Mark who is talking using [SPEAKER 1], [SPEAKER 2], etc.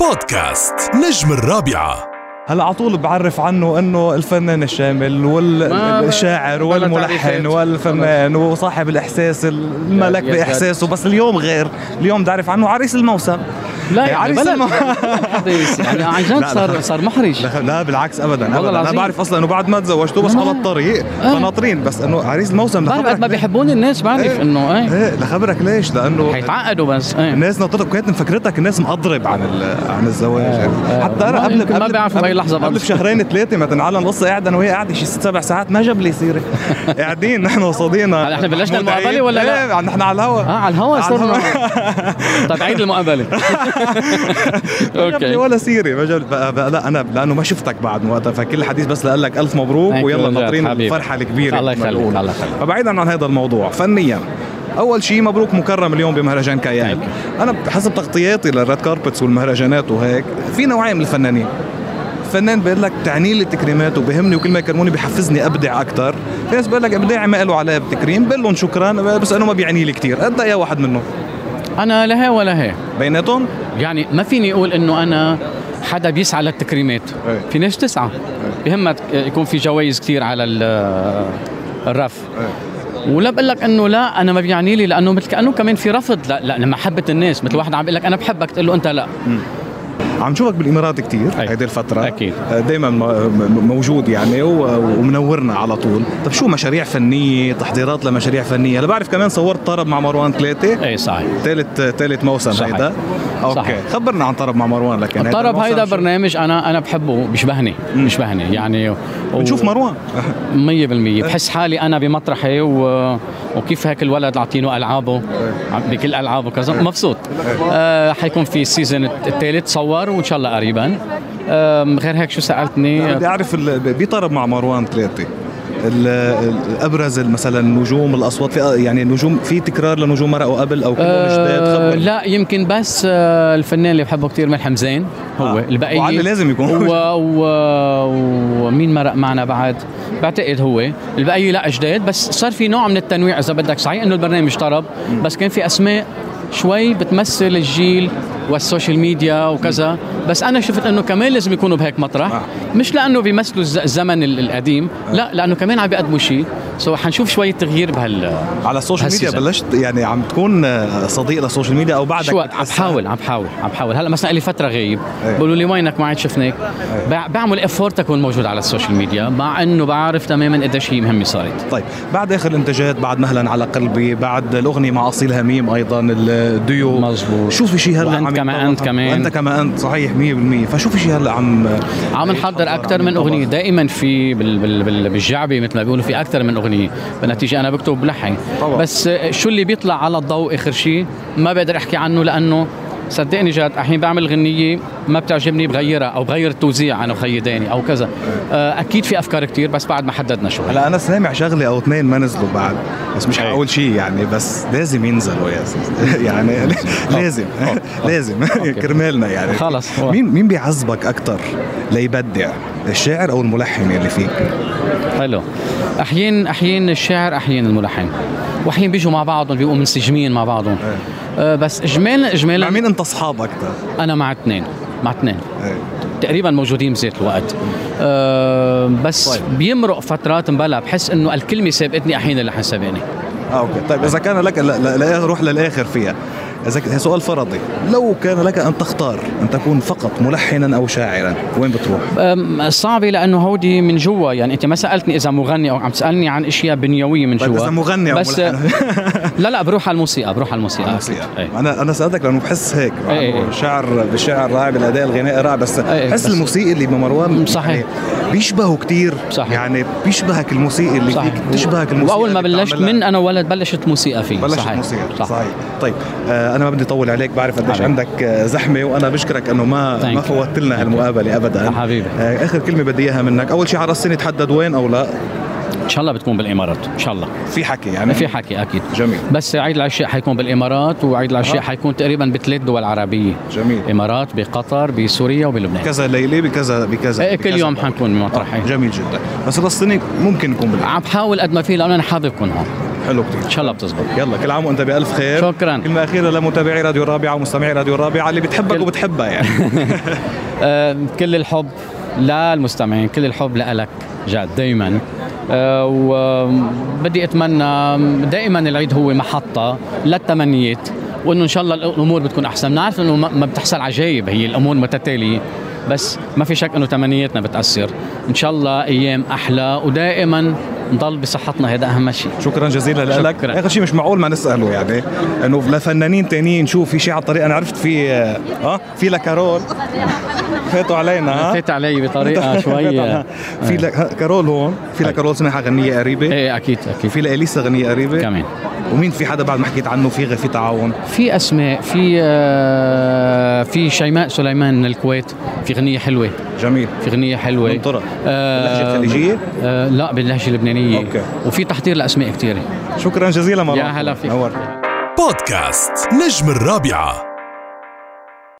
[SPEAKER 1] بودكاست نجم الرابعة
[SPEAKER 2] هلا على طول بعرف عنه انه الفنان الشامل
[SPEAKER 3] ما-
[SPEAKER 2] والشاعر
[SPEAKER 3] بلا
[SPEAKER 2] والملحن
[SPEAKER 3] تعريفات.
[SPEAKER 2] والفنان وصاحب الاحساس الملك
[SPEAKER 3] يا- يا
[SPEAKER 2] باحساسه بس اليوم غير اليوم بعرف عنه عريس الموسم
[SPEAKER 3] لا يعني
[SPEAKER 2] عريس
[SPEAKER 3] بلا
[SPEAKER 2] الموسم
[SPEAKER 3] حديث. يعني عن
[SPEAKER 2] لا،
[SPEAKER 3] جد
[SPEAKER 2] لا.
[SPEAKER 3] صار صار محرج
[SPEAKER 2] لا, لا بالعكس ابدا
[SPEAKER 3] والله
[SPEAKER 2] ابدا انا
[SPEAKER 3] العظيم.
[SPEAKER 2] بعرف اصلا انه بعد ما تزوجته بس
[SPEAKER 3] ما-
[SPEAKER 2] على الطريق
[SPEAKER 3] آه.
[SPEAKER 2] فناطرين بس انه عريس الموسم
[SPEAKER 3] بعرف
[SPEAKER 2] لخبرك
[SPEAKER 3] قد ما
[SPEAKER 2] ليه-
[SPEAKER 3] بيحبوني الناس بعرف
[SPEAKER 2] إيه.
[SPEAKER 3] انه ايه
[SPEAKER 2] ايه لخبرك ليش لانه
[SPEAKER 3] حيتعقدوا بس ايه
[SPEAKER 2] الناس ناطرتك كانت مفكرتك الناس مضرب عن ال- عن الزواج يعني. حتى انا
[SPEAKER 3] آه، ما-
[SPEAKER 2] قبل
[SPEAKER 3] يمكن ما
[SPEAKER 2] قبل-
[SPEAKER 3] بيعرفوا بأي لحظة
[SPEAKER 2] قبل
[SPEAKER 3] بأمس.
[SPEAKER 2] بشهرين ثلاثه مثلا على القصه قاعد انا وهي قاعده شي ست سبع ساعات ما جب لي سيره قاعدين نحن وصديقنا
[SPEAKER 3] هلا إحنا بلشنا
[SPEAKER 2] محمود
[SPEAKER 3] المقابلة
[SPEAKER 2] عيد.
[SPEAKER 3] ولا لا؟
[SPEAKER 2] ايه نحن على الهوا
[SPEAKER 3] اه على الهوا صرنا طيب عيد المقابله
[SPEAKER 2] اوكي
[SPEAKER 3] اوكي
[SPEAKER 2] ولا سيري ما جاب بقى بقى لا انا لانه ما شفتك بعد من وقتها فكل الحديث بس لاقول لك الف مبروك
[SPEAKER 3] Thank you
[SPEAKER 2] ويلا
[SPEAKER 3] رجعت
[SPEAKER 2] ناطرين
[SPEAKER 3] حبيبي.
[SPEAKER 2] الفرحه الكبيره
[SPEAKER 3] الله يخليك،
[SPEAKER 2] المدعوة.
[SPEAKER 3] الله يخليك.
[SPEAKER 2] فبعيدا عن هذا الموضوع فنيا اول شيء مبروك مكرم اليوم بمهرجان كاياك انا حسب تغطياتي للريد كاربتس والمهرجانات وهيك في نوعين من الفنانين فنان بيقول لك تعني لي تكريمات وبهمني وكل ما يكرموني بحفزني ابدع اكثر في ناس بيقول لك ابداعي ما له علاقه بالتكريم بقول لهم شكرا بس انا ما بيعني لي كثير انت يا واحد منهم
[SPEAKER 3] انا لا هي ولا هي
[SPEAKER 2] بيناتهم
[SPEAKER 3] يعني ما فيني اقول انه انا حدا بيسعى للتكريمات
[SPEAKER 2] إيه.
[SPEAKER 3] في ناس تسعى بهمها تك- يكون في جوائز كثير على ال- الرف
[SPEAKER 2] إيه.
[SPEAKER 3] ولا بقول لك انه لا انا ما بيعني لي لانه مثل كانه كمان في رفض لا لا لمحبه الناس مثل واحد عم بيقول لك انا بحبك تقول له انت لا
[SPEAKER 2] عم شوفك بالامارات كتير
[SPEAKER 3] أي.
[SPEAKER 2] هيدي آه، الفتره
[SPEAKER 3] أكيد.
[SPEAKER 2] دائما موجود يعني و- ومنورنا على طول طب شو مشاريع فنيه تحضيرات لمشاريع فنيه انا بعرف كمان صورت طرب مع مروان ثلاثه
[SPEAKER 3] اي إيه، صحيح
[SPEAKER 2] ثالث ثالث موسم
[SPEAKER 3] صحيح.
[SPEAKER 2] هيدا اوكي
[SPEAKER 3] صحيح.
[SPEAKER 2] خبرنا عن طرب مع مروان لكن هيدا
[SPEAKER 3] الطرب
[SPEAKER 2] يعني الموسم
[SPEAKER 3] هيدا
[SPEAKER 2] شو-
[SPEAKER 3] برنامج انا انا بحبه بيشبهني بيشبهني يعني و-
[SPEAKER 2] بنشوف مروان
[SPEAKER 3] 100% بحس حالي انا بمطرحي و... وكيف هيك الولد عاطينه العابه عم- بكل العابه كذا مبسوط آه حيكون في السيزون الثالث صور وان شاء الله قريبا آه غير هيك شو سالتني
[SPEAKER 2] نعم، بدي اعرف ال- بطرب مع مروان ثلاثه ال- ال- ابرز مثلا النجوم الاصوات في يعني النجوم في تكرار لنجوم مرقوا قبل او كلهم جداد
[SPEAKER 3] آه
[SPEAKER 2] خبر
[SPEAKER 3] لا يمكن بس آه الفنان اللي بحبه كثير ملحم زين هو
[SPEAKER 2] آه.
[SPEAKER 3] آه. البقيه
[SPEAKER 2] وعلي لازم يكون.
[SPEAKER 3] و... و... ومين مرق معنا بعد بعتقد هو البقيه لا جداد بس صار في نوع من التنويع اذا بدك صحيح انه البرنامج طرب بس كان في اسماء شوي بتمثل الجيل والسوشيال ميديا وكذا بس انا شفت انه كمان لازم يكونوا بهيك مطرح
[SPEAKER 2] آه.
[SPEAKER 3] مش لانه بيمثلوا الز- الزمن ال- القديم لا لانه كمان عم بيقدموا شيء سو حنشوف شويه تغيير بهال
[SPEAKER 2] على السوشيال ميديا
[SPEAKER 3] هالسيزن.
[SPEAKER 2] بلشت يعني عم تكون آه، صديق للسوشيال ميديا او بعدك
[SPEAKER 3] شو عم
[SPEAKER 2] بتحسها؟
[SPEAKER 3] بحاول عم بحاول عم بحاول هلا مثلا لي فتره غايب
[SPEAKER 2] إيه.
[SPEAKER 3] بقولوا لي وينك ما عاد شفناك بع- بعمل افورت اكون موجود على السوشيال ميديا مع انه بعرف تماما قديش هي مهمه صارت
[SPEAKER 2] طيب بعد اخر الانتاجات بعد مهلا على قلبي بعد الاغنيه مع اصيل هميم ايضا الديو
[SPEAKER 3] مزبوط.
[SPEAKER 2] شو في شيء هلا
[SPEAKER 3] وأنت
[SPEAKER 2] عم
[SPEAKER 3] كما
[SPEAKER 2] يتطور؟
[SPEAKER 3] أنت كمان.
[SPEAKER 2] وانت كما انت صحيح 100% فشو في شيء هلا عم
[SPEAKER 3] عم
[SPEAKER 2] إيه،
[SPEAKER 3] نحضر اكثر من اغنيه دائما في بال بال بال بالجعبه مثل ما بيقولوا في اكثر من اغنيه بالنتيجه انا بكتب لحن
[SPEAKER 2] طبعاً.
[SPEAKER 3] بس آه، شو اللي بيطلع على الضوء اخر شيء ما بقدر احكي عنه لانه صدقني جد احيانا بعمل غنيه ما بتعجبني بغيرها او بغير التوزيع انا وخيداني او كذا آه، اكيد في افكار كتير بس بعد ما حددنا شو هي.
[SPEAKER 2] إيه. هلا انا سامع شغله او اثنين ما نزلوا بعد بس مش
[SPEAKER 3] أي.
[SPEAKER 2] حقول شيء يعني بس لازم ينزلوا يا سيدي. يعني لازم لازم كرمالنا يعني
[SPEAKER 3] خلص.
[SPEAKER 2] مين مين بيعذبك اكثر ليبدع الشاعر او الملحن اللي فيك
[SPEAKER 3] حلو احيان احيان الشاعر احيان الملحن واحيان بيجوا مع بعضهم بيبقوا منسجمين مع بعضهم أه بس اجمالا
[SPEAKER 2] مع
[SPEAKER 3] اجمالا
[SPEAKER 2] مين انت اصحاب اكثر
[SPEAKER 3] انا مع اثنين مع اثنين
[SPEAKER 2] إيه.
[SPEAKER 3] تقريبا موجودين بذات الوقت أه بس
[SPEAKER 2] طيب.
[SPEAKER 3] طيب. بيمرق فترات مبلا بحس انه الكلمه سابقتني احيانا اللحن سابقني
[SPEAKER 2] اه اوكي طيب اذا كان لك لا لا لا روح للاخر فيها اذا ك- سؤال فرضي لو كان لك ان تختار ان تكون فقط ملحنا او شاعرا وين بتروح
[SPEAKER 3] أم، صعبه لانه أه، هودي من جوا يعني انت ما سالتني اذا مغني او عم تسالني عن اشياء بنيويه من
[SPEAKER 2] طيب
[SPEAKER 3] جوا
[SPEAKER 2] اذا مغني او
[SPEAKER 3] بس
[SPEAKER 2] ملحن
[SPEAKER 3] لا لا بروح على الموسيقى بروح على الموسيقى, أكيد. إيه.
[SPEAKER 2] انا انا سالتك لانه بحس هيك
[SPEAKER 3] إيه، إيه.
[SPEAKER 2] الشعر بالشعر رائع بالاداء الغنائي رائع بس
[SPEAKER 3] إيه،
[SPEAKER 2] بحس
[SPEAKER 3] بس-
[SPEAKER 2] الموسيقي اللي بمروان
[SPEAKER 3] مم، صحيح.
[SPEAKER 2] يعني بيشبهه كثير
[SPEAKER 3] صحيح.
[SPEAKER 2] يعني بيشبهك الموسيقي اللي
[SPEAKER 3] صحيح
[SPEAKER 2] فيك بتشبهك الموسيقى
[SPEAKER 3] واول ما
[SPEAKER 2] اللي
[SPEAKER 3] بلشت
[SPEAKER 2] بتعملها.
[SPEAKER 3] من انا ولد بلشت موسيقى فيه
[SPEAKER 2] بلشت
[SPEAKER 3] صحيح.
[SPEAKER 2] موسيقى
[SPEAKER 3] صح.
[SPEAKER 2] صح. صحيح طيب آه انا ما بدي اطول عليك بعرف قديش
[SPEAKER 3] حبيبي.
[SPEAKER 2] عندك آه، زحمه وانا بشكرك انه ما
[SPEAKER 3] Thank
[SPEAKER 2] ما
[SPEAKER 3] you.
[SPEAKER 2] فوتت لنا هالمقابله ابدا
[SPEAKER 3] حبيبي.
[SPEAKER 2] آه اخر كلمه بدي اياها منك اول شيء على السنه تحدد وين او لا
[SPEAKER 3] ان شاء الله بتكون بالامارات ان شاء الله
[SPEAKER 2] في حكي يعني
[SPEAKER 3] في حكي اكيد
[SPEAKER 2] جميل.
[SPEAKER 3] بس عيد العشاء حيكون بالامارات وعيد
[SPEAKER 2] آه.
[SPEAKER 3] العشاء حيكون تقريبا بثلاث دول عربيه
[SPEAKER 2] جميل
[SPEAKER 3] امارات بقطر بسوريا وبلبنان
[SPEAKER 2] كذا ليله بكذا بكذا
[SPEAKER 3] إيه،
[SPEAKER 2] بكذا.
[SPEAKER 3] كل يوم حنكون بمطرحين
[SPEAKER 2] جميل جدا بس للسنه ممكن نكون بالعكس
[SPEAKER 3] عم بحاول قد ما في لانه انا حابب كون هون
[SPEAKER 2] حلو كثير
[SPEAKER 3] ان شاء الله بتزبط
[SPEAKER 2] يلا كل عام وانت بالف خير
[SPEAKER 3] شكراً.
[SPEAKER 2] كلمه اخيره لمتابعي راديو الرابعه ومستمعي راديو الرابعه اللي بتحبك
[SPEAKER 3] كل-
[SPEAKER 2] وبتحبها يعني
[SPEAKER 3] آه، كل الحب للمستمعين كل الحب لك جاد آه، دائما وبدي اتمنى دائما العيد هو محطه للتمنيات وانه ان شاء الله الامور بتكون احسن بنعرف انه ما ما بتحصل عجايب هي الامور متتاليه بس ما في شك انه تمنياتنا بتاثر ان شاء الله ايام احلى ودائما نضل بصحتنا هذا اهم شيء
[SPEAKER 2] شكرا جزيلا لك
[SPEAKER 3] شكراً.
[SPEAKER 2] اخر شيء مش معقول ما نساله يعني انه لفنانين تانيين شوف في شيء على الطريق انا عرفت في اه في لكارول فاتوا علينا ها
[SPEAKER 3] فات علي بطريقه شوي
[SPEAKER 2] في لك- كارول هون في
[SPEAKER 3] طيب.
[SPEAKER 2] لكارول سمعها غنيه قريبه
[SPEAKER 3] ايه اكيد اكيد
[SPEAKER 2] في لاليسا غنيه قريبه
[SPEAKER 3] كمان
[SPEAKER 2] ومين في حدا بعد ما حكيت عنه في غ- في تعاون
[SPEAKER 3] في اسماء في آه، في شيماء سليمان من الكويت في غنيه حلوه
[SPEAKER 2] جميل
[SPEAKER 3] في غنيه حلوه
[SPEAKER 2] ننطرها.
[SPEAKER 3] طيب. آه،
[SPEAKER 2] باللهجة الخليجية؟
[SPEAKER 3] آه، لا باللهجه اللبنانيه
[SPEAKER 2] أوكي.
[SPEAKER 3] وفي تحضير لاسماء كثيره
[SPEAKER 2] شكرا جزيلا مرام
[SPEAKER 3] هلا فيك.
[SPEAKER 2] نورت
[SPEAKER 1] بودكاست نجم الرابعه